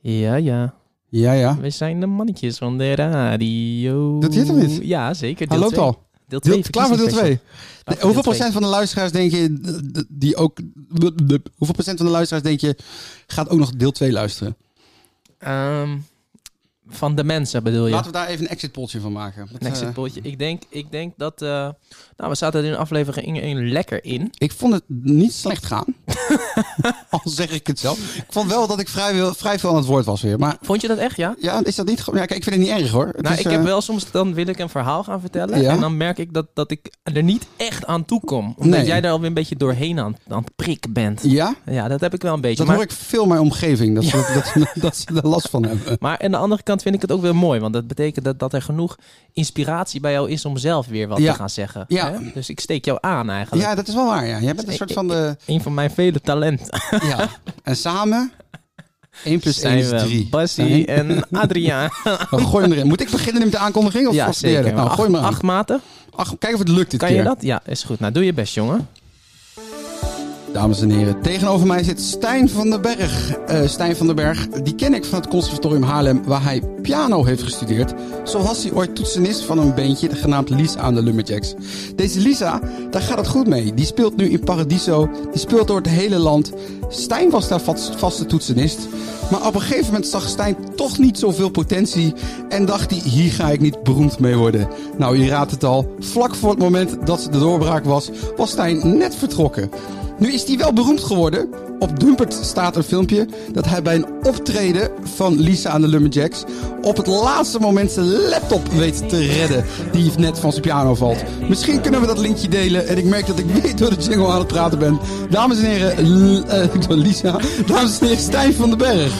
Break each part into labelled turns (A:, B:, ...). A: Ja, ja.
B: Ja, ja.
A: We zijn de mannetjes van de radio.
B: Dat heet hem niet?
A: Ja, zeker.
B: Hij
A: Deel
B: loopt
A: twee.
B: al.
A: Deel
B: Deel,
A: 2.
B: klaar voor deel 2. hoeveel procent van de luisteraars denk je d- d- die ook. d- d- hoeveel procent van de luisteraars denk je gaat ook nog deel 2 luisteren?
A: Ehm, van de mensen bedoel je?
B: Laten we daar even een exit polletje van maken. Dat,
A: Een exit
B: eh,
A: polletje. Ik denk, ik denk dat... eh, nou, we zaten er in aflevering 1 lekker in.
B: ik vond het niet slecht gaan. Al zeg ik het zelf. Ik vond wel dat ik vrij, wel- vrij veel aan het woord was weer. Maar
A: Vond je dat echt, ja?
B: ja, is dat niet gewoon. Ja, kijk, ik vind het niet erg hoor. Het
A: nou,
B: is,
A: ik heb
B: eh,
A: wel soms, dan wil ik een verhaal gaan vertellen.
B: Ja.
A: En dan merk ik dat, dat ik er niet echt aan toe kom. Omdat
B: Nee.
A: jij daar alweer een beetje doorheen aan, aan het prik bent.
B: Ja,
A: Ja, dat heb ik wel een beetje.
B: dat
A: maar,
B: hoor ik veel in mijn omgeving. Dat, ze- dat, ze- dat ze er last van hebben.
A: maar aan de andere kant vind ik het ook weer mooi. Want dat betekent dat, dat er genoeg inspiratie bij jou is om zelf weer wat
B: Ja.
A: te gaan zeggen.
B: Ja.
A: Hè? Dus ik steek jou aan eigenlijk.
B: Ja, dat is wel waar. Ja. Jij bent een soort van de.
A: Een van mijn vele talenten
B: Ja. En samen. 1 plus 1
A: zijn
B: is
A: we
B: 3.
A: Bassie en Adriaan.
B: Nou, gooi hem erin. Moet ik beginnen met de aankondiging? Of
A: ja,
B: of de derde?
A: zeker.
B: Nou,
A: acht,
B: gooi maar aan.
A: acht maten.
B: Ach, kijk of het lukt dit
A: Kan
B: keer.
A: je dat? Ja, is goed. Nou, doe je best, jongen.
B: Dames en heren, tegenover mij zit Stijn van den Berg. Eh, Stijn van den Berg, die ken ik van het Conservatorium Haarlem, waar hij piano heeft gestudeerd. Zo was hij ooit toetsenist van een bandje genaamd Lisa aan de Lumberjacks. Deze Lisa, daar gaat het goed mee. Die speelt nu in Paradiso, die speelt door het hele land. Stijn was daar vast, vaste toetsenist. Maar op een gegeven moment zag Stijn toch niet zoveel potentie en dacht hij, hier ga ik niet beroemd mee worden. Nou, je raadt het al, vlak voor het moment dat de doorbraak was, was Stijn net vertrokken. Nu is hij wel beroemd geworden. Op Dumpert staat een filmpje dat hij bij een optreden van Lisa aan de Lumberjacks op het laatste moment zijn laptop weet te redden die net van zijn piano valt. Misschien kunnen we dat linkje delen en ik merk dat ik weer door de jingle aan het praten ben. Dames en heren, L- eh, ik bedoel Lisa, dames en heren, Stijn van den Berg.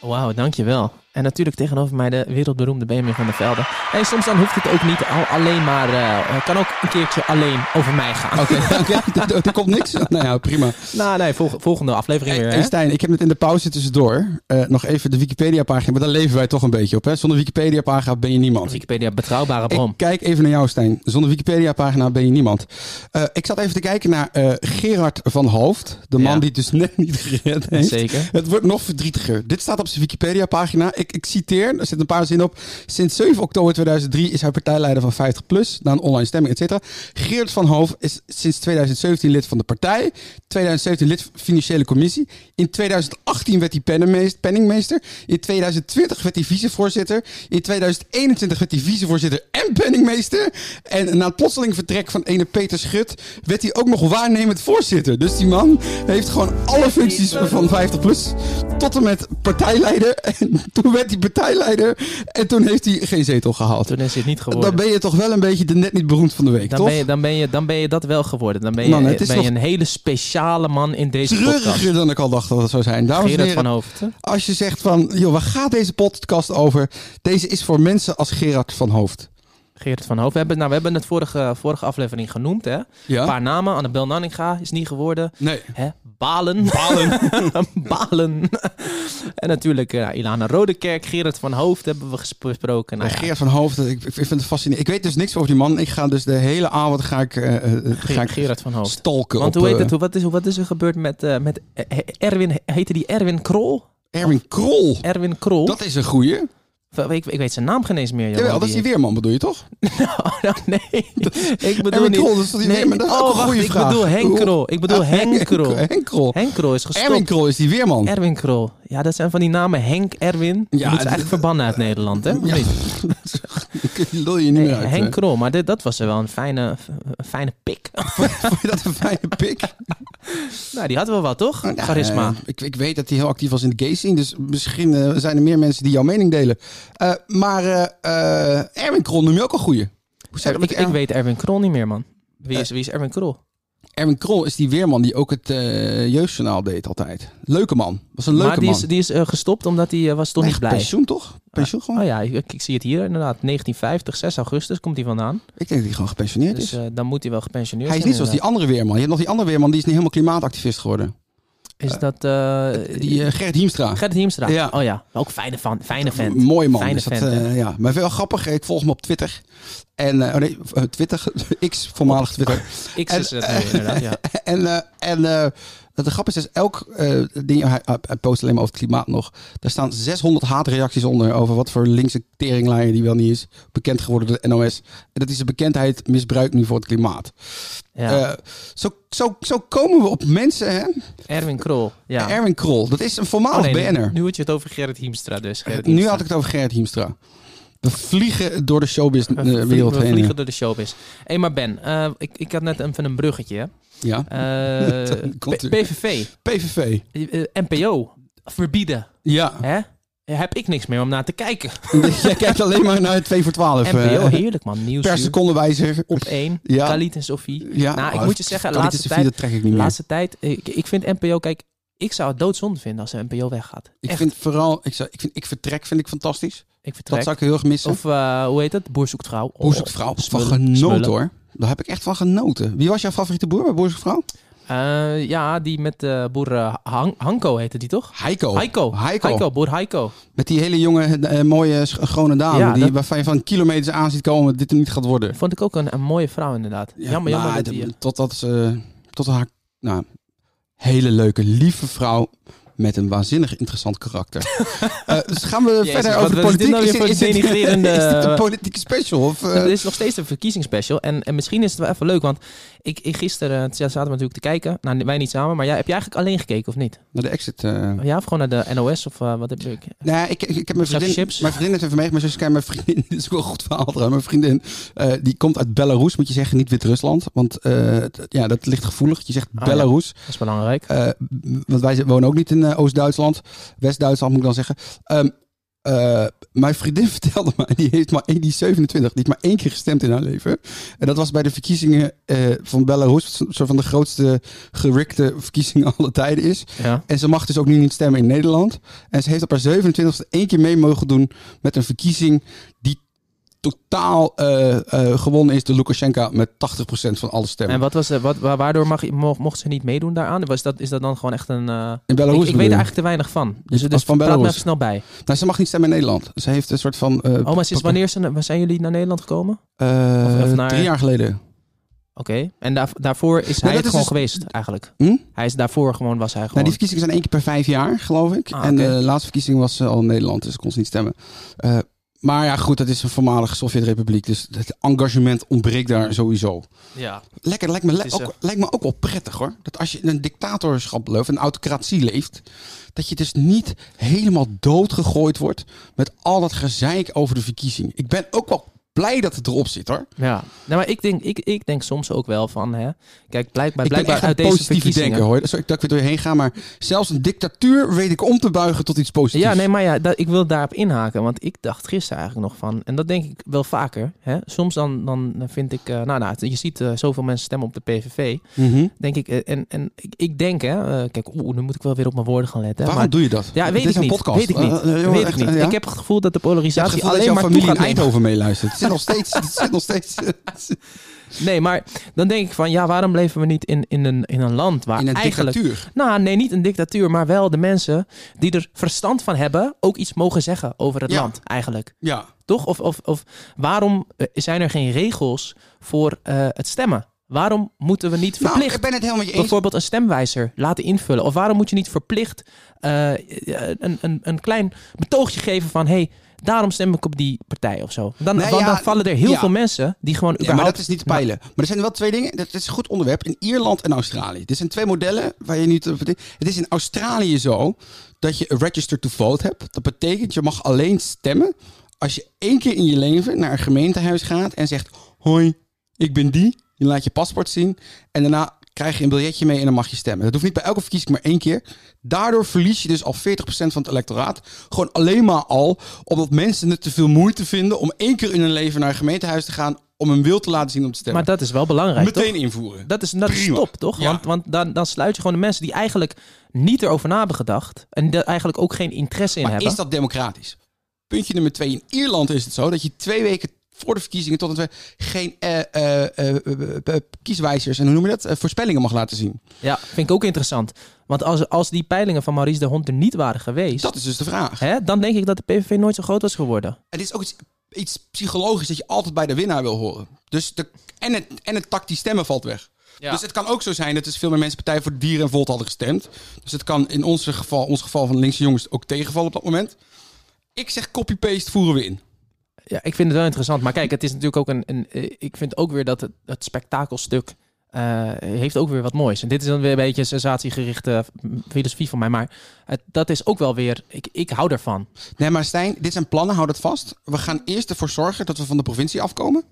A: Wauw, dankjewel. En natuurlijk tegenover mij de wereldberoemde Benjamin van der Velde. En soms dan hoeft het ook niet al, alleen maar... eh, Het kan ook een keertje alleen over mij gaan.
B: Oké, oké, er- er- er komt niks. Nou ja, prima.
A: Nou nee, volg- volgende aflevering weer.
B: Hey,
A: hè?
B: Stijn, ik heb net in de pauze tussendoor eh, nog even de Wikipedia-pagina, maar daar leven wij toch een beetje op. Hè? Zonder Wikipedia-pagina ben je niemand.
A: Wikipedia, betrouwbare
B: Ik
A: bron.
B: kijk even naar jou, Stijn. Zonder Wikipedia-pagina ben je niemand. Eh, ik zat even te kijken naar eh, Gerard van Hoofd. De man
A: Ja.
B: die het dus net niet gered heeft.
A: Zeker.
B: Het wordt nog verdrietiger. Dit staat op zijn Wikipedia-pagina. Ik, ik citeer, er zitten een paar zinnen op. Sinds 7 oktober 2003 is hij partijleider van 50PLUS. Na een online stemming, et cetera. Gerard van Hoofd is sinds 2017 lid van de partij. 2017 lid van de financiële commissie. In 2018 werd hij penningmeest- penningmeester. In 2020 werd hij vicevoorzitter. In 2021 werd hij vicevoorzitter en penningmeester. En na het plotseling vertrek van ene Peter Schut werd hij ook nog waarnemend voorzitter. Dus die man heeft gewoon alle functies van 50 plus tot en met partijleider. En toen werd hij partijleider en toen heeft hij geen zetel gehaald.
A: Toen is dit niet geworden.
B: Dan ben je toch wel een beetje de net niet beroemd van de week,
A: Dan
B: toch?
A: ben, je, dan, ben je, dan ben je dat wel geworden. Dan ben je,
B: Man, het is
A: ben je
B: nog
A: een hele speciale man in deze podcast.
B: Treuriger dan ik al dacht dat het zou zijn. Dames en
A: Gerard
B: heren,
A: van Hoofd.
B: als je zegt van, joh, waar gaat deze podcast over? Deze is voor mensen als Gerard van Hoofd.
A: Gerard van Hoofd. We hebben, nou, we hebben het vorige, vorige aflevering genoemd. Hè?
B: Ja?
A: Een paar namen. Annabel Nanninga is niet geworden.
B: Nee.
A: Hè? Balen. Balen. Balen. en natuurlijk eh, Ilana Rodekerk. Gerard van Hoofd hebben we gesproken. Nou, ja,
B: Gerard van Hoofd, ik, ik vind het fascinerend. Ik weet dus niks over die man. Ik ga dus de hele avond ga ik, eh, eh, ga
A: Ger-
B: ik
A: Gerard van Hoofd.
B: stalken
A: Want
B: op
A: hoe heet
B: eh,
A: het? Hoe, wat, is, hoe- wat is er gebeurd met, eh, met eh, Erwin? Heette die Erwin Krol?
B: Erwin Krol.
A: Erwin Krol?
B: Dat is een goeie.
A: Ik, ik, ik weet zijn naam geen eens meer, jongen.
B: Jawel, dat is die weerman bedoel je toch?
A: Oh, nou, nee, ik bedoel
B: Erwin
A: niet...
B: Krol, dat is toch die
A: nee,
B: nee, dus maar dat is
A: oh,
B: ook een
A: wacht,
B: goede
A: ik
B: vraag.
A: bedoel Henk Krol. Ik bedoel
B: Ah,
A: Henk Krol.
B: Henk Krol.
A: Henk Krol is gestopt.
B: Erwin Krol is die weerman.
A: Erwin Krol. Ja, dat zijn van die namen Henk, Erwin. Ja, dat
B: Ja,
A: is
B: het-
A: eigenlijk verbannen uit Nederland, hè? Of
B: Ja,
A: niet?
B: die lul je niet meer uit.
A: Henk
B: Henk...
A: Krol, maar dit, dat was wel een fijne, een fijne pik.
B: Vond je dat een fijne pik?
A: nou, die had wel wat, toch?
B: Ja,
A: Charisma.
B: eh, ik, ik weet dat hij heel actief was in de gay scene. Dus misschien eh, zijn er meer mensen die jouw mening delen. Eh, maar eh, eh, Erwin Krol noem je ook een goeie. Hoe zei dat
A: ik,
B: met
A: ik
B: Erwin?
A: weet Erwin Krol niet meer, man. Wie
B: Eh,
A: is, wie is Erwin Krol?
B: Erwin Krol is die weerman die ook het eh, jeugdjournaal deed altijd. Leuke man. Was een leuke
A: maar die
B: man.
A: is, die is eh, gestopt omdat hij eh, was toch niet
B: Echt
A: blij.
B: pensioen toch? Pensioen gewoon?
A: Oh ja, ik, ik zie het hier inderdaad. 1950, 6 augustus komt hij vandaan.
B: Ik denk dat hij gewoon gepensioneerd
A: Dus
B: is.
A: eh, dan moet hij wel gepensioneerd
B: Hij is
A: zijn,
B: niet zoals die
A: inderdaad.
B: andere weerman. Je hebt nog die andere weerman, die is niet helemaal klimaatactivist geworden.
A: Is dat... eh
B: Die eh, Gert Hiemstra.
A: Gerrit Hiemstra.
B: Ja. Mm.
A: Oh ja, ook fijne, fan, fijne vent.
B: Mooi man.
A: Fijne
B: is dat,
A: vent,
B: eh,
A: hè?
B: ja. Maar wel grappig. Ik volg hem op Twitter. En, eh, oh nee, eh, Twitter, X, voormalig Twitter.
A: Ik is
B: en-
A: het nu inderdaad, ja.
B: En, eh, en eh, wat de grap is, is elk eh, ding, hij, hij post alleen maar over het klimaat nog. Daar staan 600 haatreacties onder over wat voor linkse teringlijn die wel niet is. Bekend geworden door de NOS. En dat is de bekendheid misbruikt nu voor het klimaat.
A: ja.
B: Eh, zo, zo, zo komen we op mensen, hè?
A: Erwin Krol. Ja.
B: Erwin Krol, dat is een
A: Oh,
B: voormalig
A: nee, nu-
B: BN'er.
A: Nu had je het over Gerrit Hiemstra dus. Gerrit
B: Nu
A: Hiemstra.
B: had ik het over Gerrit Hiemstra. We vliegen door de showbiz-wereld
A: We,
B: heen.
A: vliegen, we vliegen door de showbiz. Hé, maar Ben, eh, ik, ik had net even een bruggetje. hè.
B: Ja.
A: Eh,
B: Dat
A: P-
B: komt u.
A: PVV,
B: PVV.
A: eh, NPO, verbieden.
B: Ja.
A: Hè? Eh, Heb ik niks meer om naar te kijken.
B: Jij kijkt alleen maar naar 2 voor 12. eh,
A: NPO, heerlijk man. Nieuws
B: per seconde wijzer.
A: op één.
B: Ja.
A: Khalid en Sophie.
B: Ja,
A: Nou, ik
B: oh,
A: moet je zeggen,
B: Khalid
A: laatste
B: en Sophie,
A: tijd-
B: dat trek ik
A: De
B: niet meer.
A: laatste tijd, ik, ik vind NPO, kijk, ik zou het doodzonde vinden als de NPO weggaat.
B: Ik
A: Echt,
B: vind vooral, ik, zou, ik, vind, ik vertrek vind ik fantastisch.
A: ik
B: Dat
A: vertrek.
B: zou ik heel erg missen.
A: Of eh, hoe heet het? Boer zoekt vrouw.
B: Boer zoekt vrouw. Van
A: smullen,
B: genoten
A: smullen.
B: hoor. Daar heb ik echt van genoten. Wie was jouw favoriete boer bij Boer zoekt vrouw?
A: Eh, ja, die met eh, boer eh, Han- Hanko heette die toch?
B: Heiko.
A: Heiko.
B: Heiko.
A: boer Heiko.
B: Met die hele jonge, eh, mooie, sch- schone dame.
A: Ja,
B: die,
A: dat-
B: Waarvan je van kilometers aan ziet komen dat dit hem niet gaat worden.
A: Vond ik ook een, een mooie vrouw inderdaad.
B: Ja,
A: jammer, jammer
B: maar
A: dat die...
B: de-
A: eh,
B: Totdat ze, tot haar, nou, hele leuke, lieve vrouw met een waanzinnig interessant karakter. Eh, dus gaan we
A: Jezus,
B: verder
A: wat-
B: over de
A: wat is dit
B: politiek.
A: nou weer voor
B: dit-
A: denigrerende-
B: is dit een politieke special? Of, eh,
A: Het is nog steeds een verkiezingsspecial. En, en misschien is het wel even leuk, want ik, ik gisteren eh, zaten we natuurlijk te kijken. Nou, wij niet samen, maar jij, heb jij eigenlijk alleen gekeken of niet?
B: naar de exit. eh,
A: Ja, of gewoon naar de NOS of eh, wat heb ik?
B: Nou, ik, ik, ik heb mijn
A: Zak
B: vriendin,
A: chips?
B: mijn vriendin heeft even meegemaakt. Zoals ik zei, mijn vriendin, dit is wel een goed verhaal trouwens. Mijn vriendin, eh, die komt uit Belarus, moet je zeggen, niet Wit-Rusland. Want eh, t- ja, dat ligt gevoelig. Je zegt
A: Oh, ja.
B: Belarus,
A: Dat is belangrijk.
B: eh, m- want wij zi- wonen ook niet in eh, Oost-Duitsland. West-Duitsland moet ik dan zeggen. Ehm, eh, mijn vriendin vertelde mij, die heeft maar één, die is 27, die heeft maar één keer gestemd in haar leven. En dat was bij de verkiezingen eh, van Belarus, een soort van de grootste gerikte verkiezingen alle tijden is.
A: Ja.
B: En ze mag dus ook nu niet stemmen in Nederland. En ze heeft op haar 27e één keer mee mogen doen met een verkiezing die totaal eh, eh, gewonnen is door Lukashenko met 80% van alle stemmen.
A: En wat was, de- wat, wa- waardoor mag, mo- mocht ze niet meedoen daaraan? Was dat, is dat dan gewoon echt een... eh,
B: in
A: Ik, ik
B: Belarus
A: weet er
B: bedoel je?
A: eigenlijk te weinig van. Dus,
B: Als
A: dus
B: van
A: praat me
B: Belarus.
A: even snel bij.
B: Nou, ze mag niet stemmen in Nederland. Ze heeft een soort van... eh,
A: Oh, maar sinds wanneer zijn, waar zijn jullie naar Nederland gekomen?
B: eh,
A: of- of naar-
B: Drie jaar geleden. Nou,
A: Oké. En daar, daarvoor is hij het
B: dat is
A: gewoon
B: dus-
A: geweest, eigenlijk.
B: Hm?
A: Hij is daarvoor gewoon, was hij
B: Nou,
A: gewoon.
B: die verkiezingen zijn één keer per vijf jaar, geloof ik.
A: Ah,
B: en
A: oké.
B: de laatste verkiezing was eh, al in Nederland, dus kon ze niet stemmen. Eh, maar ja, goed, dat is een voormalige Sovjet-republiek. Dus het engagement ontbreekt daar sowieso.
A: Ja.
B: Lekker, lijkt me,
A: is, eh,
B: ook, lijkt me ook wel prettig hoor. Dat als je in een dictatorschap leeft, een autocratie leeft, dat je dus niet helemaal doodgegooid wordt met al dat gezeik over de verkiezing. Ik ben ook wel blij dat het erop zit hoor.
A: ja. Nou, maar ik denk, ik, ik denk soms ook wel van... Hè, kijk, blijkbaar,
B: Ik ben
A: blijkbaar
B: echt
A: uit
B: een
A: deze
B: positieve
A: verkiezingen...
B: denker hoor. Sorry dat ik weer doorheen ga, maar zelfs een dictatuur weet ik om te buigen tot iets positiefs.
A: Ja, nee, maar ja, dat, ik wil daarop inhaken. Want ik dacht gisteren eigenlijk nog van... En dat denk ik wel vaker. Hè? Soms dan, dan vind ik... eh, nou, nou, je ziet eh, zoveel mensen stemmen op de PVV.
B: Mhm.
A: Denk ik, eh, en, en ik, ik denk, hè... eh, kijk, oeh, nu moet ik wel weer op mijn woorden gaan letten. hè,
B: Waarom
A: maar-
B: doe je dat?
A: Ja, weet
B: Dit
A: ik
B: is een
A: niet.
B: podcast.
A: Weet ik
B: Eh,
A: niet.
B: eh, jongen,
A: weet ik
B: echt,
A: niet.
B: eh, ja.
A: Ik heb het gevoel dat de polarisatie
B: het gevoel dat
A: alleen
B: jouw
A: maar toe
B: familie in
A: gaat nemen.
B: Eindhoven meeluistert. Het zit nog steeds. Het zit nog steeds.
A: Nee, maar dan denk ik van, ja, waarom leven we niet in, in, een, in een land waar
B: in een
A: eigenlijk...
B: dictatuur.
A: Nou, nee, niet een dictatuur, maar wel de mensen die er verstand van hebben ook iets mogen zeggen over het
B: Ja.
A: land eigenlijk.
B: Ja.
A: Toch? Of, of, of waarom eh, zijn er geen regels voor eh, het stemmen? Waarom moeten we niet
B: Nou,
A: verplicht
B: ik ben het helemaal met je eens.
A: bijvoorbeeld een stemwijzer laten invullen? Of waarom moet je niet verplicht eh, een, een, een klein betoogje geven van... hey, daarom stem ik op die partij of zo. Dan,
B: Nou
A: want
B: ja,
A: dan vallen er heel
B: ja.
A: veel mensen die gewoon
B: Ja, maar
A: überhaupt...
B: dat is niet te peilen. Maar er zijn wel twee dingen. Dat is een goed onderwerp. In Ierland en Australië. Dit zijn twee modellen waar je niet. Het is in Australië zo dat je een register to vote hebt. Dat betekent je mag alleen stemmen als je één keer in je leven naar een gemeentehuis gaat en zegt: Hoi, ik ben die. Je laat je paspoort zien en daarna krijg je een biljetje mee en dan mag je stemmen. Dat hoeft niet bij elke verkiezing maar één keer. Daardoor verlies je dus al 40% van het electoraat. Gewoon alleen maar al omdat mensen het te veel moeite vinden om één keer in hun leven naar een gemeentehuis te gaan om hun wil te laten zien om te stemmen.
A: maar dat is wel belangrijk, toch?
B: Meteen invoeren.
A: Dat is, dat is
B: Prima.
A: top, toch?
B: Ja.
A: Want, want dan, dan sluit je gewoon de mensen die eigenlijk niet erover na hebben gedacht... en daar eigenlijk ook geen interesse in
B: Maar
A: hebben.
B: is dat democratisch? Puntje nummer twee. In Ierland is het zo dat je twee weken voor de verkiezingen tot en met geen eh, eh, eh, eh, eh, kieswijzers en hoe noem je dat? Eh, voorspellingen mag laten zien.
A: Ja, vind ik ook interessant. Want als, als die peilingen van Maurice de Hond er niet waren geweest,
B: Dat is dus de vraag.
A: hè, dan denk ik dat de PVV nooit zo groot was geworden.
B: Het is ook iets, iets psychologisch dat je altijd bij de winnaar wil horen. Dus de, en, het, en het tactisch stemmen valt weg.
A: Ja.
B: Dus het kan ook zo zijn dat dus veel meer mensen Partij voor de Dieren en Volt hadden gestemd. Dus het kan in ons geval, ons geval van linkse jongens ook tegenvallen op dat moment. Ik zeg copy-paste voeren we in.
A: Ja, ik vind het wel interessant. Maar kijk, het is natuurlijk ook een. een eh, ik vind ook weer dat het, het spektakelstuk. eh, heeft ook weer wat moois. En dit is dan weer een beetje een sensatiegerichte mm, filosofie van mij. Maar het, dat is ook wel weer. Ik, ik hou ervan.
B: Nee, maar Stijn, dit zijn plannen, houd het vast. We gaan eerst ervoor zorgen dat we van de provincie afkomen.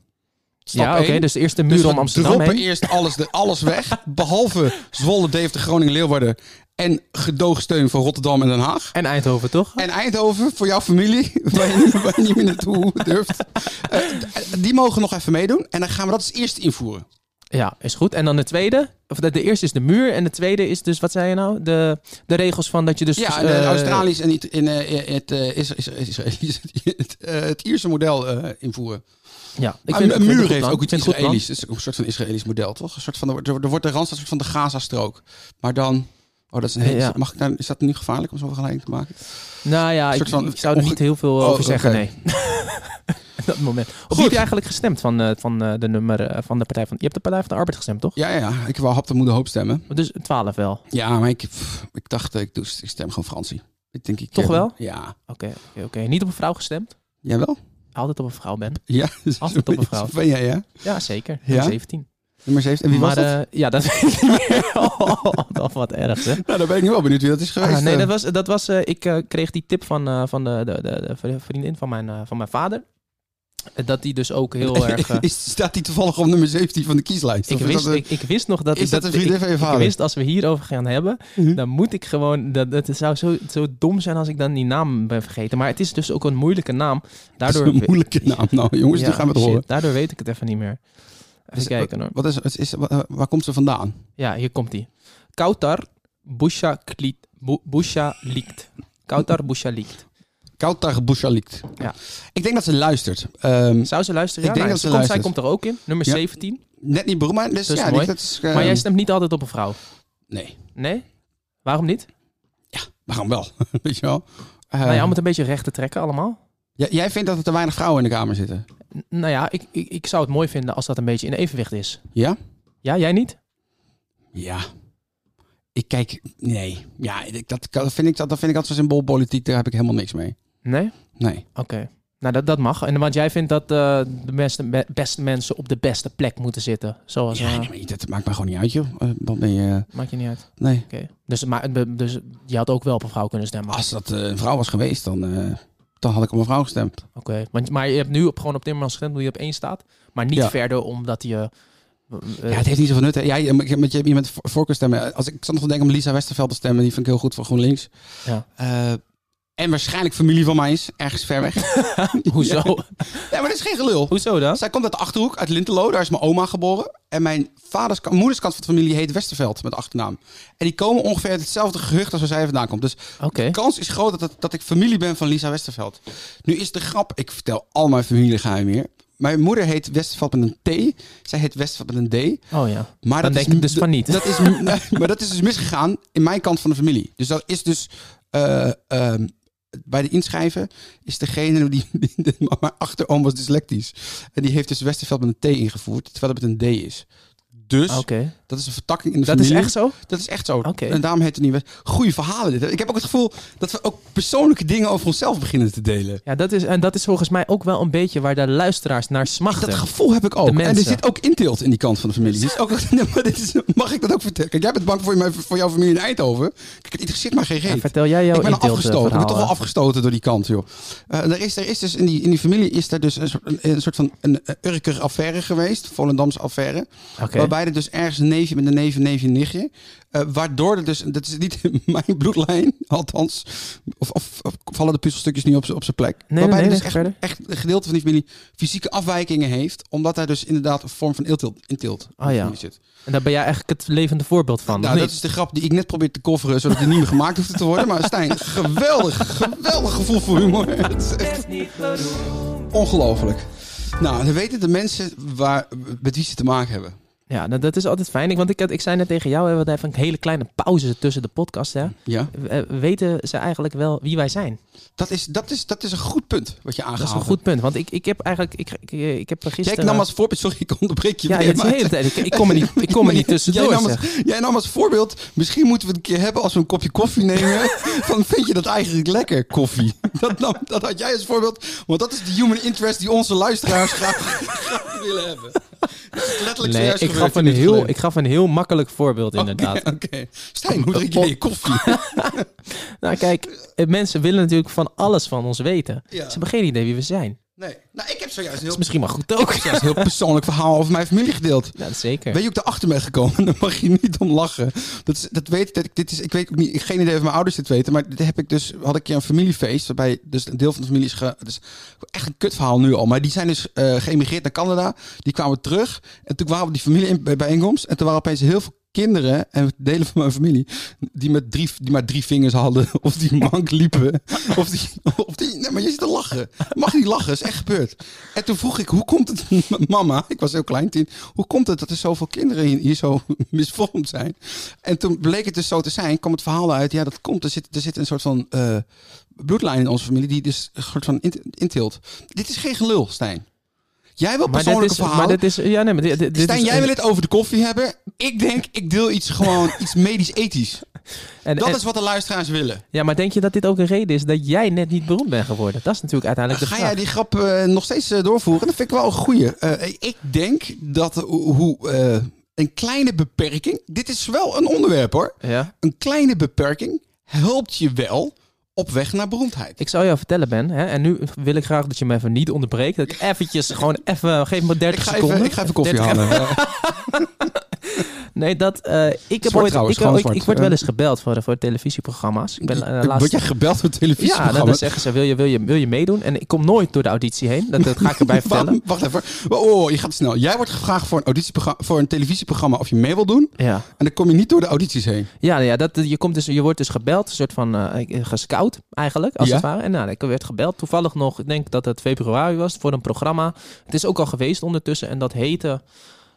B: Stap
A: ja, oké.
B: één.
A: dus de eerste muur
B: Dus
A: om
B: we
A: Amsterdam
B: droppen
A: heen.
B: eerst alles, de, alles weg. Behalve Zwolle, Deventer, Groningen, Leeuwarden. En gedoogsteun voor Rotterdam en Den Haag.
A: En Eindhoven, toch?
B: En Eindhoven, voor jouw familie, waar je, niet- waar je niet meer naartoe durft. Eh, d- die mogen nog even meedoen. En dan gaan we dat als eerste invoeren.
A: Ja, is goed. En dan de tweede. Of de, de eerste is de muur. En de tweede is dus, wat zei je nou? De, de regels van dat je dus.
B: Ja, en,
A: eh,
B: eh, Australisch en niet- in, eh, het, eh, is, is, is, is- het, eh, het Ierse model eh, invoeren.
A: Ja, ik vind, ik
B: Maar Ah, een
A: vind
B: muur
A: het
B: heeft
A: goed
B: ook iets
A: plan. Ik vind het goed plan.
B: Israëlisch. Het is ook een soort van Israëlisch model, toch? Een soort van, er wordt- er wordt de randstad een soort van de Gaza-strook. Maar dan... Oh, dat is een hele,
A: Ja.
B: mag ik daar, is dat nu gevaarlijk om zo'n vergelijking te maken?
A: Nou ja,
B: Een
A: ik,
B: soort van
A: ik zou er
B: onge-
A: niet heel veel
B: Oh,
A: over zeggen,
B: oké.
A: nee. Op dat moment. Op
B: Goed.
A: wie heb je eigenlijk gestemd van, eh, van eh, de nummer eh, van de Partij van... Je hebt de Partij van de Arbeid gestemd, toch?
B: Ja, ja, ja. Ik wou hap de moeder hoop stemmen.
A: Dus 12 wel. Oké,
B: Ja, maar ik, pff, ik dacht, eh, ik, doe, ik stem gewoon Fransie. Ik denk, ik,
A: Toch
B: eh,
A: wel?
B: Ja.
A: oké, oké. Niet op een vrouw gestemd?
B: Jij wel?
A: Altijd op een vrouw, Ben.
B: Ja.
A: Altijd op een vrouw.
B: Ben jij, ja?
A: Ja, zeker.
B: Ja?
A: 17.
B: Nummer 17. En wie
A: maar,
B: was dat?
A: eh, ja, dat weet ik niet meer. Oh, dat wat erg, hè?
B: nou, dan ben ik nu wel benieuwd wie dat is geweest.
A: Ah, nee,
B: eh.
A: dat was, dat was eh, ik eh, kreeg die tip van, eh, van de, de, de, de vriendin van mijn, eh, van mijn vader. Eh, Dat die dus ook heel erg... eh,
B: Is, staat die toevallig op nummer 17 van de kieslijst?
A: ik,
B: Of is
A: wist,
B: dat een-
A: ik, ik wist nog dat...
B: is dat,
A: dat
B: een
A: ik-
B: vriendin van je vader?
A: Ik wist, nou, als we hierover gaan hebben,
B: Mhm.
A: dan moet ik gewoon... Dat, dat het zou zo, zo dom zijn als ik dan die naam ben vergeten. Maar het is dus ook een moeilijke naam.
B: dat is
A: Daardoor,
B: een moeilijke naam. Nou, jongens,
A: Ja,
B: die gaan we het
A: shit,
B: horen.
A: Daardoor weet ik het even niet meer. Even
B: Dus,
A: kijken hoor.
B: Wat is, wat is, wat, eh, waar komt ze vandaan?
A: Ja, hier komt die. Kautar Busha Kliet. Bu- Busha Likt. Kautar Busha Likt.
B: Kautar Bouchalikt.
A: Ja.
B: Ik denk dat ze luistert. Ehm,
A: Zou ze luisteren?
B: Ik
A: Ja,
B: denk
A: nou,
B: dat ze
A: komt, zij
B: luistert.
A: komt er ook in. Nummer
B: Ja. Ehm.
A: 17.
B: net niet beroemd, maar dus,
A: Dat is
B: ja, die-
A: mooi.
B: dat is... eh,
A: Maar jij stemt niet altijd op een vrouw.
B: Nee,
A: Nee? Waarom niet?
B: waarom wel? Weet je wel? Eh,
A: nou ja, om het een beetje recht te trekken allemaal.
B: j- jij vindt dat er te weinig vrouwen in de kamer zitten?
A: N- Nou ja, ik, ik, ik zou het mooi vinden als dat een beetje in evenwicht is.
B: Ja?
A: Ja, jij niet?
B: Ja. Ik kijk, nee. Ja, ik- dat, dat vind ik, dat, dat vind ik altijd zo symboolpolitiek. Daar heb ik helemaal niks mee.
A: Nee?
B: Nee.
A: Oké. Nou, dat, dat mag. En want jij vindt dat eh, de beste, be- beste mensen op de beste plek moeten zitten. Zoals...
B: Ja,
A: eh,
B: nee, maar dat maakt me gewoon niet uit, joh. Eh, Wat ben je... eh,
A: Maakt je niet uit.
B: Nee.
A: Oké. Dus, maar, be- dus je had ook wel op een vrouw kunnen stemmen.
B: Als dat eh, een vrouw was geweest, dan, eh, dan had ik op een vrouw gestemd.
A: Oké. Want, maar je hebt nu op, gewoon op Timmermans gestemd, hoe je op één staat. Maar niet
B: Ja.
A: verder omdat je... eh, eh,
B: ja, het heeft niet zoveel nut. Hè. Jij, eh, je, met je, je met voor- voorkeur stemmen. Als ik, ik zat nog te denken om Lisa Westerveld te stemmen. Die vind ik heel goed voor GroenLinks.
A: Ja.
B: Eh, en waarschijnlijk familie van mij is. Ergens ver weg.
A: hoezo?
B: Nee, maar dat is geen gelul.
A: hoezo dan?
B: Oh. Zij komt uit de Achterhoek, uit Lintelo. Daar is mijn oma geboren. En mijn vaders, moederskant van de familie heet Westerveld met de achternaam. En die komen ongeveer uit hetzelfde gehucht als waar zij vandaan komt. Dus
A: Oké.
B: de kans is groot dat, dat, dat ik familie ben van Lisa Westerveld. Nu is de grap, ik vertel al mijn familiegeheimen hier. Mijn moeder heet Westerveld met een T. Zij heet Westerveld met een D.
A: Oh ja.
B: Maar
A: Dan
B: dat
A: denk
B: is,
A: ik dus van niet.
B: Dat is, nee, maar dat is dus misgegaan in mijn kant van de familie. Dus dat is dus... eh, ehm, bij de inschrijven is degene die... die maar mijn achteroom was dyslectisch. En die heeft dus Westerveld met een T ingevoerd, terwijl het met een D is. Dus
A: Oké.
B: dat is een vertakking in de
A: Dat is
B: familie.
A: echt zo?
B: Dat is echt zo.
A: Oké.
B: En daarom heet het niet West. Goeie verhalen dit. Ik heb ook het gevoel dat we ook persoonlijke dingen over onszelf beginnen te delen.
A: Ja, dat is, en dat is volgens mij ook wel een beetje waar de luisteraars naar smachten.
B: Dat gevoel heb ik
A: De
B: ook. En er
A: mensen.
B: zit ook inteelt in die kant van de familie. Dus ook, Nee, maar dit is, mag ik dat ook vertellen? Kijk, jij bent bang voor, je, voor jouw familie in Eindhoven. Kijk, het interesseert maar geen
A: Ja,
B: reet.
A: Nou, vertel jij jouw
B: ik ben al
A: inteelt, eh,
B: afgestoten. Ik ben toch wel
A: verhaal,
B: afgestoten door die kant, joh. Eh, er, is, er is dus in die, in die familie is er dus een soort, een, een soort van een, een Urker affaire geweest. Volendamse affaire.
A: eh. Oké.
B: Waarbij er dus ergens een neefje met een neef, een neefje, een nichtje. eh, waardoor er dus, dat is niet in mijn bloedlijn, althans. Of, of, of vallen de puzzelstukjes niet op z'n- op zijn plek.
A: nee,
B: waarbij
A: nee,
B: er dus
A: nee,
B: echt,
A: verder.
B: echt een gedeelte van die familie fysieke afwijkingen heeft. Omdat daar dus inderdaad een vorm van inteelt, inteelt in
A: Ah,
B: de
A: ja.
B: familie zit.
A: En daar ben jij eigenlijk het levende voorbeeld van.
B: nou,
A: of
B: dat
A: niet?
B: is de grap die ik net probeer te coveren, zodat die niet meer gemaakt hoeft te worden. Maar Stijn, geweldig, geweldig gevoel voor humor. Het is echt Ongelooflijk. Nou, dan weten de mensen waar, met wie ze te maken hebben.
A: Ja, nou, dat is altijd fijn. Ik, want ik, had- ik zei net tegen jou, hè, we hebben een hele kleine pauze tussen de podcast. Hè.
B: Ja,
A: Eh, Weten ze eigenlijk wel wie wij zijn?
B: dat is, dat is, dat is een goed punt wat je aangehaald
A: Dat is een
B: hebt.
A: goed punt. Want ik, ik heb eigenlijk, ik, ik, ik heb
B: Jij
A: gisteren...
B: nam als voorbeeld, sorry, ik onderbreek je.
A: eh, ja,
B: weer,
A: het is de
B: maar-
A: hele tijd. Ik, ik kom er niet, ik kom er niet tussendoor.
B: Jij nam,
A: zeg.
B: als, jij nam als voorbeeld, misschien moeten we het een keer hebben als we een kopje koffie nemen. van vind je dat eigenlijk lekker, koffie? Dat, nam, dat had jij als voorbeeld, want dat is de human interest die onze luisteraars graag, graag willen hebben. Dat is letterlijk
A: Nee,
B: zojuist
A: ik
B: gebeurd
A: gaf, een
B: in dit
A: heel,
B: geluid.
A: ik gaf een heel makkelijk voorbeeld
B: Oké,
A: inderdaad.
B: Oké, Stijn, hoe drink jij je koffie?
A: Nou kijk, eh, mensen willen natuurlijk van alles van ons weten.
B: Ja.
A: Ze hebben geen idee wie we zijn.
B: Nee, nou ik heb zojuist een
A: Dat
B: heel,
A: is misschien wel goed ook.
B: zojuist een heel persoonlijk verhaal over mijn familie gedeeld.
A: Ja, dat zeker.
B: Ben je ook erachter bent gekomen? Dan mag je niet om lachen. Dat, is- dat weet dat ik. Dit is, ik weet ook niet. ik- Geen idee of mijn ouders dit weten. Maar dit heb ik dus. Had ik een keer een familiefeest. Waarbij dus een deel van de familie is. Ge, het is echt een kutverhaal nu al. Maar die zijn dus eh, geëmigreerd naar Canada. Die kwamen terug. En toen waren we die familie in, bij bijeenkomst. En toen waren opeens heel veel kinderen en delen van mijn familie die met drie die maar drie vingers hadden of die mank liepen of die of die nee maar je zit te lachen mag niet lachen is echt gebeurd en toen vroeg ik hoe komt het mama ik was heel klein tien hoe komt het dat er zoveel kinderen hier, hier zo misvormd zijn en toen bleek het dus zo te zijn kwam het verhaal uit ja dat komt er zit er zit een soort van eh, bloedlijn in onze familie die dus een soort van int- intilt dit is geen gelul Stijn jij wil
A: maar dit
B: persoonlijke
A: is, maar
B: verhaal
A: dit is, ja, nee, maar dit, dit- dit
B: Stijn,
A: is,
B: jij wil het over de koffie hebben. Ik denk, ik deel iets gewoon, iets medisch-ethisch.
A: en-
B: Dat
A: en-
B: is wat de luisteraars willen.
A: Ja, maar denk je dat dit ook een reden is dat jij net niet beroemd bent geworden? Dat is natuurlijk uiteindelijk de
B: Ga
A: vraag.
B: jij die grap eh, nog steeds eh, doorvoeren? Dat vind ik wel een goeie. Eh, ik denk dat hoe- hoe eh, een kleine beperking... Dit is wel een onderwerp hoor.
A: Ja?
B: Een kleine beperking helpt je wel op weg naar beroemdheid.
A: Ik zou jou vertellen, Ben, hè, en nu wil ik graag dat je me even niet onderbreekt. Dat ik eventjes, gewoon even, geef me 30
B: Ik ga,
A: seconden.
B: even, ik ga even koffie
A: 30
B: halen.
A: Nee, dat, eh, ik heb
B: Zwart
A: ooit,
B: trouwens,
A: ik,
B: gewoon
A: ik, ik
B: zwart.
A: word
B: Eh.
A: wel eens gebeld voor, voor televisieprogramma's. Ik ben eh, laatst...
B: Word jij gebeld door
A: Ja,
B: televisieprogramma's?
A: dan, dan zeggen ze, wil je, wil, je, wil je meedoen? En ik kom nooit door de auditie heen. Dat, dat ga ik erbij vertellen.
B: Waarom- Wacht even. Oh, oh, je gaat snel. Jij wordt gevraagd voor een, auditieprogramma, voor een televisieprogramma of je mee wil doen.
A: Ja,
B: En dan kom je niet door de audities heen.
A: ja, ja dat, je, komt dus, je wordt dus gebeld, een soort van eh, gescout eigenlijk, als
B: Ja.
A: het ware. En nou, ik werd gebeld, toevallig nog, ik denk dat het februari was, voor een programma. Het is ook al geweest ondertussen en dat heette...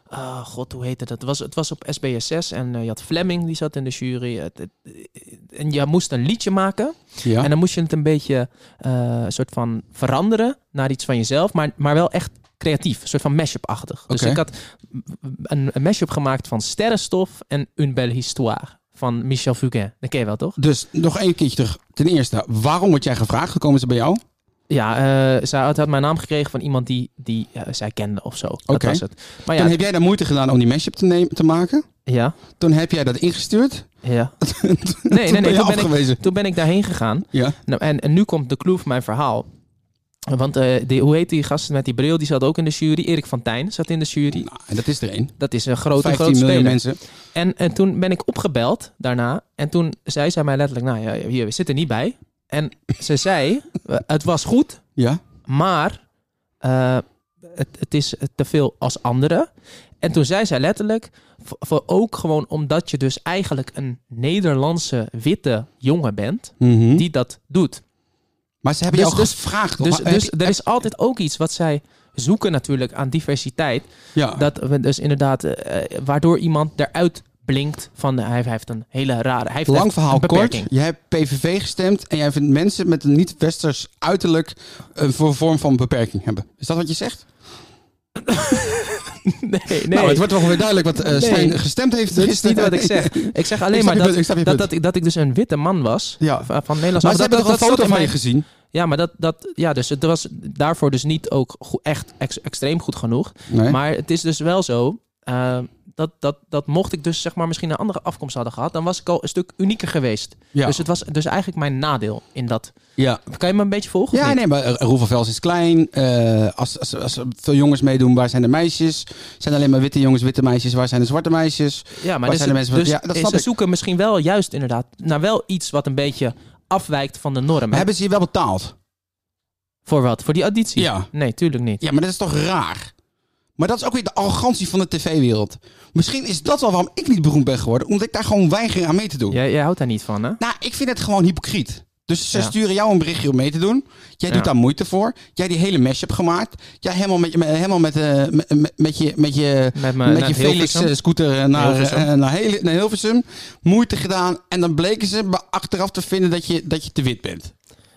A: ah, God, hoe heette dat? Het was, het was op SBSS en eh, je had Fleming, die zat in de jury. Het- het- en je moest een liedje maken.
B: Ja.
A: En dan moest je het een beetje eh soort van veranderen naar iets van jezelf, maar, maar wel echt creatief, een soort van mashup-achtig. Dus
B: Oké.
A: ik had m- een, een mashup gemaakt van Sterrenstof en Une Belle Histoire van Michel Fugain. Dat ken je wel, toch?
B: Dus nog één keertje terug. Ten eerste, waarom word jij gevraagd? Gekomen ze bij jou?
A: Ja, eh zij had, had mijn naam gekregen van iemand die, die eh, zij kende of zo. Dat
B: Oké.
A: was het. Maar ja,
B: Dan heb jij daar moeite gedaan om die mashup te, nemen, te maken.
A: ja,
B: Toen heb jij dat ingestuurd.
A: ja. Nee, nee,
B: Toen ben
A: nee.
B: je
A: Toen ben, ik,
B: afgewezen.
A: toen ben ik daarheen gegaan.
B: Ja.
A: Nou, en, en nu komt de clue van mijn verhaal. Want eh, die, hoe heet die gast met die bril? Die zat ook in de jury. Erik van Tijn zat in de jury.
B: Nou, en dat is er één.
A: Dat is een grote,
B: 15
A: grote
B: miljoen
A: speler.
B: mensen.
A: En, en toen ben ik opgebeld daarna. En toen zei zij mij letterlijk, nou ja, hier, we zitten niet bij. En ze zei, het was goed,
B: Ja.
A: maar eh, het, het is te veel als anderen. En toen zei zij letterlijk, voor- voor ook gewoon omdat je dus eigenlijk een Nederlandse witte jongen bent,
B: Mhm.
A: die dat doet.
B: Maar ze hebben
A: Dus-
B: jou
A: dus-
B: gevraagd. of-
A: Dus,
B: heb
A: dus
B: je-
A: er is altijd ook iets wat zij zoeken natuurlijk aan diversiteit.
B: ja.
A: Dat we dus inderdaad, eh, eh, waardoor iemand eruit blinkt van eh, hij hij heeft een hele rare. Hij heeft
B: Lang
A: echt
B: verhaal
A: een
B: kort.
A: beperking.
B: Jij hebt PVV gestemd en jij vindt mensen met een niet-westers uiterlijk een voor- vorm van beperking hebben. Is dat wat je zegt?
A: Nee, nee.
B: Nou, het wordt wel weer duidelijk wat eh
A: Nee.
B: Stijn gestemd heeft.
A: Dat is niet wat ik zeg. Ik zeg alleen
B: Ik snap
A: maar
B: je
A: dat
B: punt, ik snap je
A: dat,
B: punt.
A: dat, ik, dat ik dus een witte man was.
B: Ja.
A: Van van Nederlands.
B: Maar ze
A: dat,
B: hebben toch
A: dat- dat zat
B: een foto
A: in
B: van je
A: mijn-
B: gezien?
A: Ja, maar dat, dat, ja, dus het was daarvoor dus niet ook goe- echt ex- extreem goed genoeg.
B: Nee.
A: Maar het is dus wel zo. eh, dat, dat, dat mocht ik dus zeg maar misschien een andere afkomst hadden gehad, dan was ik al een stuk unieker geweest.
B: Ja.
A: Dus het was dus eigenlijk mijn nadeel in dat.
B: ja.
A: Kan je me een beetje volgen? of
B: Ja,
A: niet?
B: nee, maar eh, Roel van Vels is klein. Eh, als, als, als er veel jongens meedoen, waar zijn de meisjes? Zijn alleen maar witte jongens, witte meisjes? Waar zijn de zwarte meisjes?
A: Ja, maar
B: Waar
A: dus,
B: zijn de mensen van-
A: dus
B: Ja, dat
A: eh,
B: snap
A: ze
B: ik.
A: zoeken misschien wel juist inderdaad naar wel iets wat een beetje afwijkt van de norm. hè?
B: Maar hebben ze je wel betaald?
A: Voor wat? Voor die auditie?
B: Ja.
A: Nee, tuurlijk niet.
B: Ja, maar dat is toch raar? Maar dat is ook weer de arrogantie van de tv-wereld. Misschien is dat wel waarom ik niet beroemd ben geworden. Omdat ik daar gewoon weiger aan mee te doen.
A: Jij, jij houdt daar niet van, hè?
B: Nou, ik vind het gewoon hypocriet. Dus ze
A: Ja.
B: sturen jou een berichtje om mee te doen. Jij
A: Ja.
B: doet daar moeite voor. Jij die hele mashup gemaakt. Jij helemaal met, je- met, helemaal met, eh, met, met- met je, met je,
A: Met, me,
B: met je eh, Felix-scooter naar,
A: Hilversum.
B: eh, naar, Hele- naar Hilversum. Moeite gedaan. En dan bleken ze be- achteraf te vinden dat je, dat je te wit bent.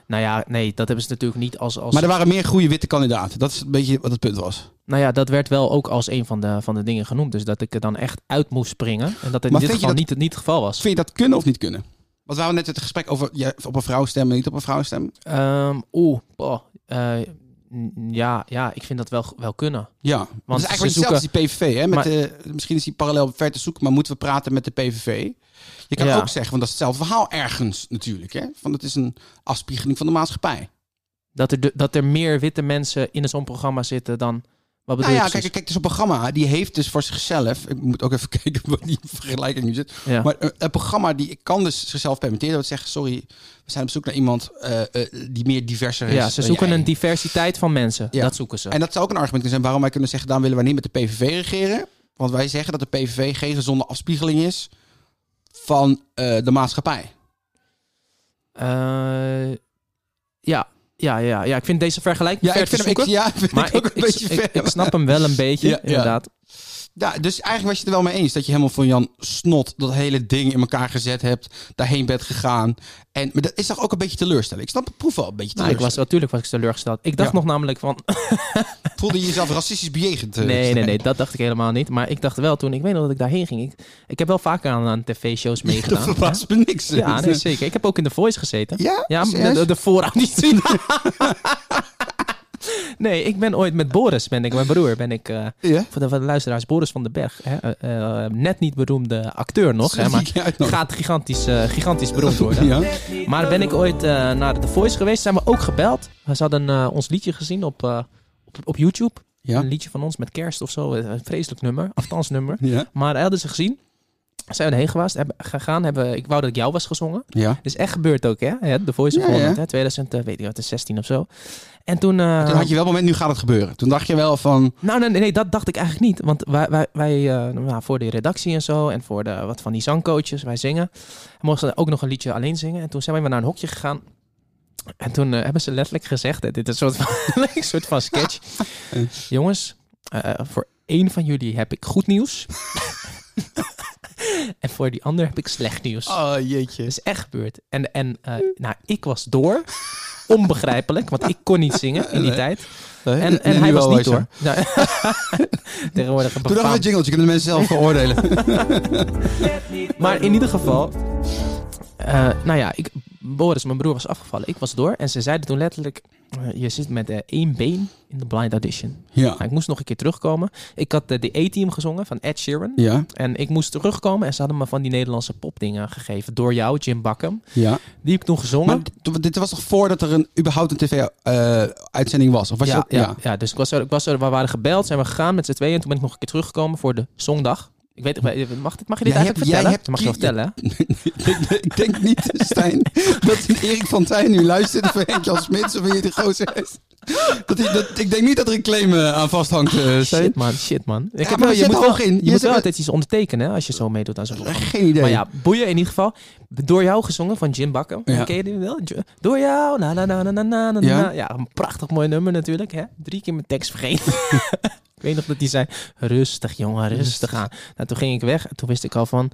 A: Nou ja, nee, dat hebben ze natuurlijk niet als... als
B: Maar er waren meer goede witte kandidaten. Dat is een beetje wat het punt was.
A: Nou ja, dat werd wel ook als een van de, van de dingen genoemd. Dus dat ik er dan echt uit moest springen. En dat in
B: Maar
A: dit
B: vind
A: geval
B: je dat-
A: niet, niet het geval was.
B: Vind je dat kunnen of niet kunnen? Want we hadden net het gesprek over ja, op een vrouw stemmen, niet op een vrouw stemmen.
A: Ehm Oeh, boh, eh, n- ja, ja, ik vind dat wel, wel kunnen.
B: Ja, want dat is
A: ze
B: eigenlijk
A: zoeken-
B: hetzelfde als die PVV. Hè? Met
A: Maar-
B: de, misschien is die parallel ver te zoeken, maar moeten we praten met de PVV? Je kan
A: Ja.
B: ook zeggen, want dat is hetzelfde verhaal ergens natuurlijk. Hè? Van het is een afspiegeling van de maatschappij.
A: Dat er, de- dat er meer witte mensen in zo'n programma zitten dan... Wat bedoel
B: Nou ja,
A: je precies?
B: kijk, kijk, dus een programma die heeft dus voor zichzelf. Ik moet ook even kijken wat die vergelijking nu zit.
A: Ja.
B: Maar eh, een programma die kan dus zichzelf permitteren. Dat zeggen, sorry, we zijn op zoek naar iemand eh, eh, die meer diverser is.
A: ja, ze
B: dan
A: zoeken
B: jij.
A: een diversiteit van mensen.
B: Ja.
A: Dat zoeken ze.
B: En dat zou ook een argument kunnen zijn waarom wij kunnen zeggen: daarom willen wij niet met de PVV regeren. Want wij zeggen dat de PVV geen gezonde afspiegeling is van eh, de maatschappij.
A: Eh, ja, ja, ja, ja, ik vind deze vergelijking ver te
B: hem, ik,
A: zoeken.
B: ja, vind
A: maar
B: ik ook
A: ik,
B: een
A: ik,
B: beetje
A: ik-
B: ver.
A: ik snap hem wel een beetje,
B: Ja, ja.
A: inderdaad. Nou,
B: Ja, dus eigenlijk was je het er wel mee eens dat je helemaal van Jan Snot dat hele ding in elkaar gezet hebt, daarheen bent gegaan. En, maar dat is toch ook een beetje teleurstelling. Ik snap het proef wel een beetje
A: Nou, ik was,
B: teleurstelling.
A: natuurlijk was ik teleurgesteld. Ik dacht
B: Ja.
A: nog namelijk van...
B: Voelde je jezelf racistisch bejegend? eh,
A: nee, nee,
B: Stijn?
A: nee, dat dacht ik helemaal niet. Maar ik dacht wel toen, ik weet nog dat ik daarheen ging. Ik, ik heb wel vaker aan, aan tv-shows
B: Dat
A: meegedaan.
B: verbaast me niks.
A: hè? Ja, nee, zeker. Ik heb ook in The Voice gezeten.
B: ja?
A: Ja, de,
B: serieus?
A: de, de voorauditie. nee, ik ben ooit met Boris, ben ik, mijn broer, ben ik... eh,
B: ja?
A: voor de, voor de luisteraars, Boris van den Berg. Hè, eh, eh, net niet beroemde acteur nog, hè, maar
B: Ja, nou,
A: gaat gigantisch, eh, gigantisch beroemd worden.
B: ja.
A: Maar ben ik ooit eh, naar The Voice geweest, zijn we ook gebeld. Ze hadden eh, ons liedje gezien op, eh, op, op YouTube.
B: Ja.
A: Een liedje van ons met kerst of zo. eh, Een vreselijk nummer, aftans nummer.
B: Ja.
A: Maar hadden ze gezien. Zijn we erheen geweest, hebben, gegaan, hebben, ik wou dat ik jou was gezongen.
B: ja.
A: Dat is echt gebeurd ook, hè? Ja, The Voice of
B: Ja, ja.
A: Holland, hè? 2000, eh, weet ik wat, 16 of zo. En toen... eh,
B: Toen had je wel een moment, nu gaat het gebeuren. Toen dacht je wel van,
A: nou, nee, nee, nee, dat dacht ik eigenlijk niet. Want wij, wij, wij eh, nou, voor de redactie en zo, en voor de, wat van die zangcoaches, wij zingen. En mochten we ook nog een liedje alleen zingen. En toen zijn we naar een hokje gegaan. En toen eh, hebben ze letterlijk gezegd, eh, dit is een soort van, een soort van sketch. Jongens, eh, voor één van jullie heb ik goed nieuws. en voor die ander heb ik slecht nieuws.
B: oh jeetje.
A: Dat is echt gebeurd. En, en eh, nou, ik was door. Onbegrijpelijk, want ik kon niet zingen in die
B: Nee.
A: tijd.
B: Nee,
A: En, en
B: nu
A: hij
B: wel
A: was
B: wij
A: niet
B: zijn.
A: hoor. Nou, Tegenwoordig een
B: Doe dan een
A: befaamd-
B: oh, jingletje, kunnen de mensen zelf beoordelen.
A: Maar in ieder geval... eh, nou ja, ik, Boris, mijn broer, was afgevallen. Ik was door. En ze zeiden toen letterlijk... eh, je zit met eh, één been in de blind audition.
B: ja.
A: Nou, ik moest nog een keer terugkomen. Ik had eh, de A-team gezongen van Ed Sheeran.
B: Ja,
A: En ik moest terugkomen. En ze hadden me van die Nederlandse popdingen gegeven. Door jou, Jim Bakken.
B: ja.
A: Die heb ik toen gezongen.
B: Maar dit, dit was toch voordat er een, überhaupt een tv-uitzending was? Of was je
A: ja,
B: ook-
A: ja, ja. dus ik was er, ik was er, we waren gebeld, zijn we gegaan met z'n tweeën. En toen ben ik nog een keer teruggekomen voor de zondag. Ik weet, eh, mag, dit, mag je dit
B: Jij
A: eigenlijk
B: hebt- jij
A: vertellen?
B: hebt
A: Dat mag je wel
B: die-
A: vertellen, hè?
B: ik denk niet, Stijn, dat Erik van Tijn nu luistert of Henk-Jan Smits of wie die gozer is. Dat hij, dat, ik denk niet dat er een claim eh, aan vasthangt, eh, Stijn.
A: Shit man, shit man. Ik
B: maar we
A: je
B: zitten
A: moet wel,
B: hoog in.
A: Je,
B: Je
A: moet
B: zit-
A: wel altijd iets ondertekenen hè, als je zo meedoet aan zo'n programma.
B: Eh, Geen idee.
A: Maar ja, boeien in ieder geval. Door jou gezongen van Jim Bakker.
B: Ja.
A: Ken je die wel? Jo- Door jou. Na, na, na, na, na, na, na, na.
B: Ja.
A: Ja. een prachtig mooi nummer natuurlijk. Hè? Drie keer mijn tekst vergeten. ik weet nog dat die zei, rustig jongen, rustig aan. Nou, toen ging ik weg en toen wist ik al van,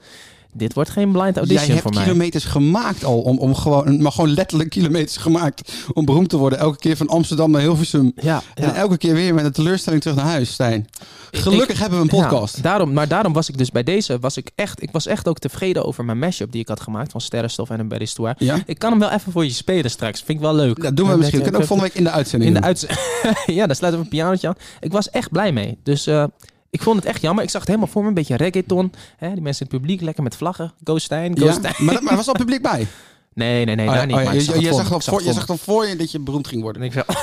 A: dit wordt geen blind audition
B: Jij
A: voor
B: hebt
A: mij.
B: kilometers gemaakt al, om, om gewoon, maar gewoon letterlijk kilometers gemaakt om beroemd te worden. Elke keer van Amsterdam naar Hilversum.
A: Ja,
B: En
A: ja.
B: elke keer weer met een teleurstelling terug naar huis, Stijn. Gelukkig hebben we een podcast.
A: Ja, daarom, maar daarom was ik dus bij deze, was ik echt, ik was echt ook tevreden over mijn mashup die ik had gemaakt van Sterrenstof en een Bad Histoire.
B: Ja?
A: Ik kan hem wel even voor je spelen straks. Vind ik wel leuk.
B: Dat doen we
A: Dan
B: misschien. We
A: heb je-
B: kunnen ook volgende week in de uitzending
A: in de
B: doen.
A: uitz- Ja, daar sluiten we een pianotje aan. Ik was echt blij mee. Dus eh, ik vond het echt jammer. Ik zag het helemaal voor me. Een beetje reggaeton. Hè, die mensen in het publiek lekker met vlaggen. Go Stijn, go
B: Ja?
A: Stijn.
B: Maar, dat, maar er was al publiek bij.
A: Nee, nee, nee.
B: Oh ja,
A: daar niet.
B: oh ja,
A: maar ik
B: je-
A: zag het
B: je
A: voor
B: zag
A: me.
B: al
A: Ik zag
B: voor- je
A: het voor
B: zag al voor je dat je beroemd ging worden.
A: me. En ik zo-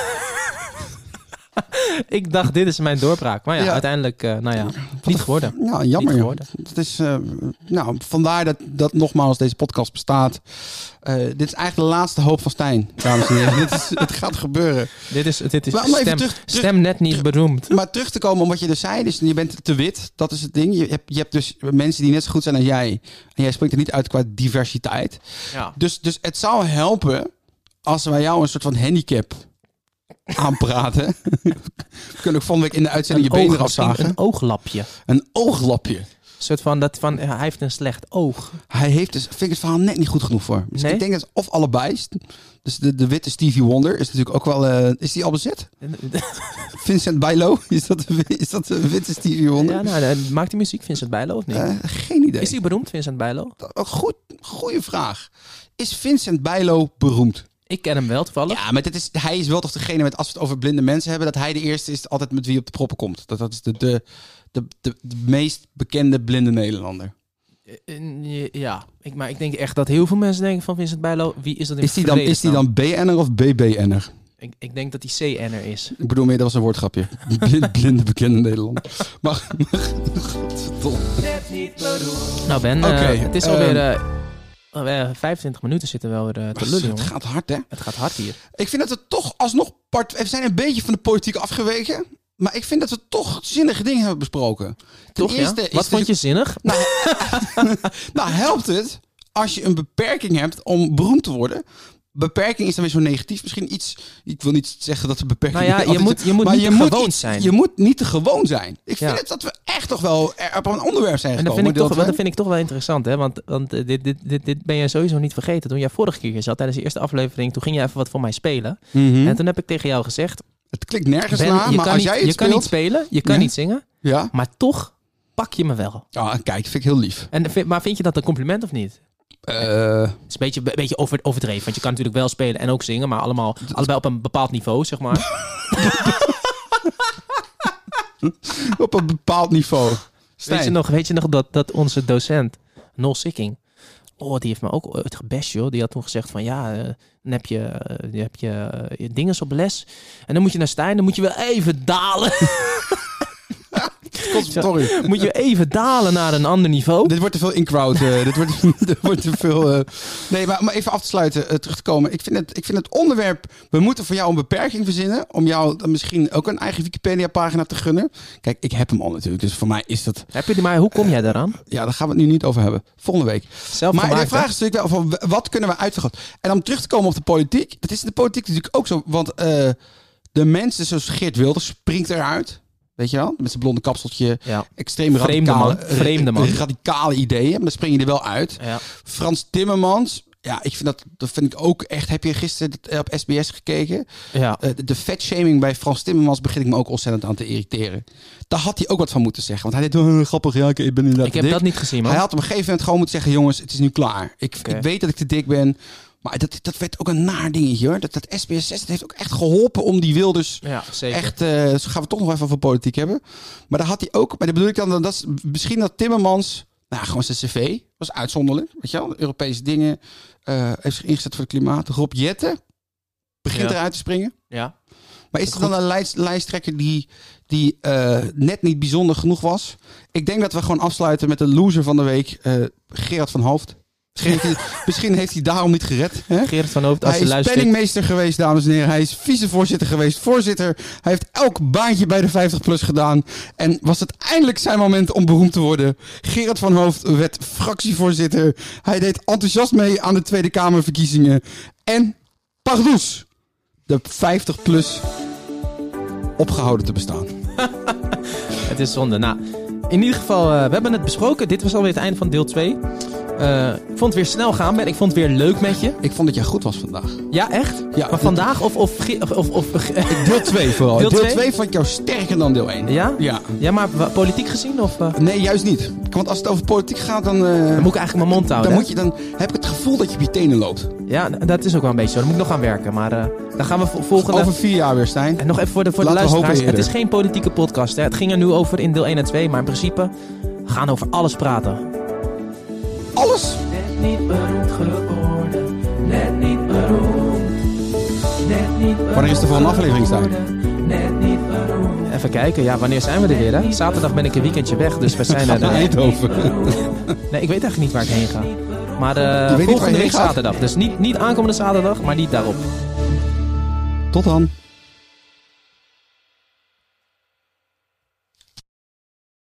A: Ik dacht, dit is mijn doorbraak. Maar ja,
B: Ja.
A: uiteindelijk, eh, nou ja, niet geworden.
B: Ja, Nou, jammer.
A: Niet
B: joh.
A: geworden.
B: Het is, eh, nou, vandaar dat, dat nogmaals deze podcast bestaat. Eh, dit is eigenlijk de laatste hoop van Stijn, dames en heren. dit is, het gaat gebeuren.
A: Dit is, dit is
B: Maar om even
A: stem,
B: terug- terug-
A: stem net niet beroemd.
B: Maar terug te komen om wat je dus zei. Dus je bent te wit, dat is het ding. Je hebt, je hebt dus mensen die net zo goed zijn als jij. En jij springt er niet uit qua diversiteit.
A: Ja.
B: Dus, dus het zou helpen als wij jou een soort van handicap aanpraten, kunnen we volgende week in de uitzending je benen
A: oog-
B: eraf zagen.
A: Een ooglapje.
B: Een ooglapje.
A: Een soort van, dat van, hij heeft een slecht oog.
B: Hij heeft dus, vind ik het verhaal net niet goed genoeg voor. Dus
A: Nee?
B: ik denk dat of allebei. is. Dus de, de witte Stevie Wonder is natuurlijk ook wel. eh, is die al bezet? Vincent Bijlo? Is dat, de, wi- is dat de witte Stevie Wonder?
A: Ja, nou, eh, maakt hij muziek Vincent Bijlo of niet?
B: Eh, geen idee.
A: Is hij beroemd, Vincent Bijlo?
B: Dat- een Goed, goede vraag. Is Vincent Bijlo beroemd?
A: Ik ken hem wel toevallig.
B: Ja, maar dit is, hij is wel toch degene met als we het over blinde mensen hebben, dat hij de eerste is altijd met wie op de proppen komt. Dat, dat is de, de, de, de, de meest bekende blinde Nederlander.
A: Eh, eh, Ja, ik, maar ik denk echt dat heel veel mensen denken van Vincent Bijlo, wie is dat in
B: Is die dan, is die
A: vredesnaam?
B: dan BN'er of BBN'er?
A: Ik, ik denk dat hij CN'er is.
B: Ik bedoel meer, dat was een woordgrapje. Blind, blinde bekende Nederlander. Maar, maar godverdomme.
A: Nou Ben, eh,
B: Oké,
A: het is
B: ehm, Oh,
A: alweer... eh, eh, 25 minuten zitten we alweer eh, te lullen,
B: het
A: jongen.
B: gaat hard, hè?
A: Het gaat hard hier.
B: Ik vind dat we toch alsnog part... We zijn een beetje van de politiek afgeweken. Maar ik vind dat we toch zinnige dingen hebben besproken. Ten
A: Toch, ja?
B: eerste is
A: Wat vond je zinnig?
B: Nou, helpt het als je een beperking hebt om beroemd te worden? Beperking is dan weer zo negatief. Misschien iets... Ik wil niet zeggen dat de beperking...
A: Nou ja, je
B: altijd-
A: moet, je moet
B: maar
A: niet
B: je
A: te gewoon
B: iets-
A: zijn.
B: Je moet niet te gewoon zijn. Ik vind
A: Ja.
B: het dat we echt toch wel er- op een onderwerp zijn
A: En dat
B: gekomen.
A: vind, ik toch,
B: dat
A: wel-
B: we-
A: dat vind ik toch wel interessant, hè? Want, want eh, dit, dit, dit, dit ben je sowieso niet vergeten. Toen jij vorige keer hier zat, tijdens de eerste aflevering, toen ging jij even wat voor mij spelen.
B: Mhm.
A: En toen heb ik tegen jou gezegd,
B: Het klinkt nergens
A: ben,
B: naar,
A: je,
B: maar
A: kan
B: als
A: niet,
B: jij het
A: je kan
B: speelt...
A: niet spelen, je kan
B: Ja.
A: niet zingen,
B: Ja,
A: maar toch pak je me wel.
B: ah, kijk, vind ik heel lief.
A: En, vind- maar vind je dat een compliment of niet?
B: Eh,
A: Het is een beetje, een beetje over, overdreven, want je kan natuurlijk wel spelen en ook zingen, maar allemaal, allebei op een bepaald niveau, zeg maar.
B: op een bepaald niveau. Stijn,
A: weet, je nog, weet je nog dat, dat onze docent, Nol Sikking, oh, die heeft me ook ooit gebest, joh. Die had toen gezegd van, ja, eh, dan heb je, eh, dan heb je, eh, je dinges op les en dan moet je naar Stijn, dan moet je wel even dalen.
B: conservatorium.
A: moet je even dalen naar een ander niveau.
B: Dit wordt te veel in-crowd. eh, dit, wordt, dit wordt te veel... eh, Nee, maar om even af te sluiten, eh, terug te komen. Ik vind, het, ik vind het onderwerp... We moeten voor jou een beperking verzinnen. Om jou dan misschien ook een eigen Wikipedia-pagina te gunnen. Kijk, ik heb hem al natuurlijk. Dus voor mij is dat...
A: Heb je die maar, hoe kom jij daaraan?
B: Ja, daar gaan we het nu niet over hebben. Volgende week.
A: Zelf
B: Maar de
A: gemaakt, hè?
B: vraag is natuurlijk wel van w- wat kunnen we uitvergroten? En om terug te komen op de politiek, dat is in de politiek natuurlijk ook zo. Want eh, de mensen zoals Geert Wilders springt eruit. Weet je wel? Met zijn blonde kapseltje.
A: Ja.
B: Extreem
A: Vreemde
B: radicale,
A: man, vreemde man.
B: radicale ideeën. Maar dan spring je er wel uit.
A: Ja.
B: Frans Timmermans. Ja, ik vind dat, dat vind ik ook echt. Heb je gisteren dat- eh, op SBS gekeken?
A: ja.
B: Eh, de- de vetshaming bij Frans Timmermans begin ik me ook ontzettend aan te irriteren. Daar had hij ook wat van moeten zeggen. Want hij deed, "Oh, grappig, ja, ik ik ben inderdaad
A: Ik heb
B: dik."
A: dat niet gezien, man.
B: Hij had op een gegeven moment gewoon moeten zeggen: jongens, het is nu klaar. Ik,
A: Oké.
B: ik weet dat ik te dik ben. Maar dat, dat werd ook een naar dingetje hoor. Dat, dat SBS6 dat heeft ook echt geholpen om die Wilders.
A: Ja, zeker.
B: Echt, eh, dus gaan we toch nog even over politiek hebben. Maar daar had hij ook. Maar dat bedoel ik dan, dat is, misschien dat Timmermans. Nou, gewoon zijn cv. Was uitzonderlijk. Weet je wel, Europese dingen. eh, heeft zich ingezet voor het klimaat. Rob Jetten
A: Ja.
B: begint eruit te springen.
A: Ja.
B: Maar is
A: Dat
B: er dan een lijst, lijsttrekker die, die eh, net niet bijzonder genoeg was? Ik denk dat we gewoon afsluiten met de loser van de week, eh, Gerard van Hoofd. Misschien heeft, hij, misschien heeft hij daarom niet gered. Hè?
A: Gerrit van Hoofd, als
B: Hij
A: je
B: is
A: luistert.
B: penningmeester geweest, dames en heren. Hij is vicevoorzitter geweest, voorzitter. Hij heeft elk baantje bij de 50PLUS gedaan. En was het eindelijk zijn moment om beroemd te worden. Gerard van Hoofd werd fractievoorzitter. Hij deed enthousiast mee aan de Tweede Kamerverkiezingen. En pardoes, de 50PLUS opgehouden te bestaan.
A: Het is zonde. Nou, in ieder geval, eh, we hebben het besproken. Dit was alweer het einde van deel 2. Eh, ik vond het weer snel gaan, Ben. Ik vond het weer leuk met je.
B: Ik vond dat jij goed was vandaag.
A: Ja, echt?
B: Ja,
A: maar vandaag of... of, ge- of, of, of- eh,
B: Deel 2 vooral.
A: Deel
B: Deel
A: twee?
B: 2 vond ik jou sterker dan deel 1.
A: ja?
B: Ja.
A: Ja, maar wa- politiek gezien of... eh,
B: Nee, juist niet. Want als het over politiek gaat, dan... eh,
A: dan moet ik eigenlijk mijn mond houden.
B: Dan,
A: hè?
B: moet je, dan heb ik het gevoel dat je op je tenen loopt.
A: Ja, n- dat is ook wel een beetje zo. Daar moet ik nog aan werken. Maar eh, dan gaan we vo- volgende...
B: Over vier jaar weer, Stijn.
A: En nog even voor de, voor de
B: Laten we
A: luisteraars.
B: hopen
A: Het is
B: eerder.
A: geen politieke podcast. Hè. Het ging er nu over in deel 1 en 2. Maar in principe we gaan over alles praten.
B: Alles.
A: Net niet beroemd geworden. Net niet beroemd. Net niet beroemd.
B: Wanneer is de volgende aflevering, Stijn?
A: Net niet beroemd. Even kijken, ja, wanneer zijn we er weer? Hè? Zaterdag ben ik een weekendje weg, dus we zijn er.
B: Naar
A: eh,
B: Eindhoven.
A: Nee, ik weet eigenlijk niet waar ik heen ga. Maar eh,
B: weet niet waar
A: volgende
B: je
A: week
B: heen gaat?
A: zaterdag. Dus niet, niet aankomende zaterdag, maar niet daarop.
B: Tot dan.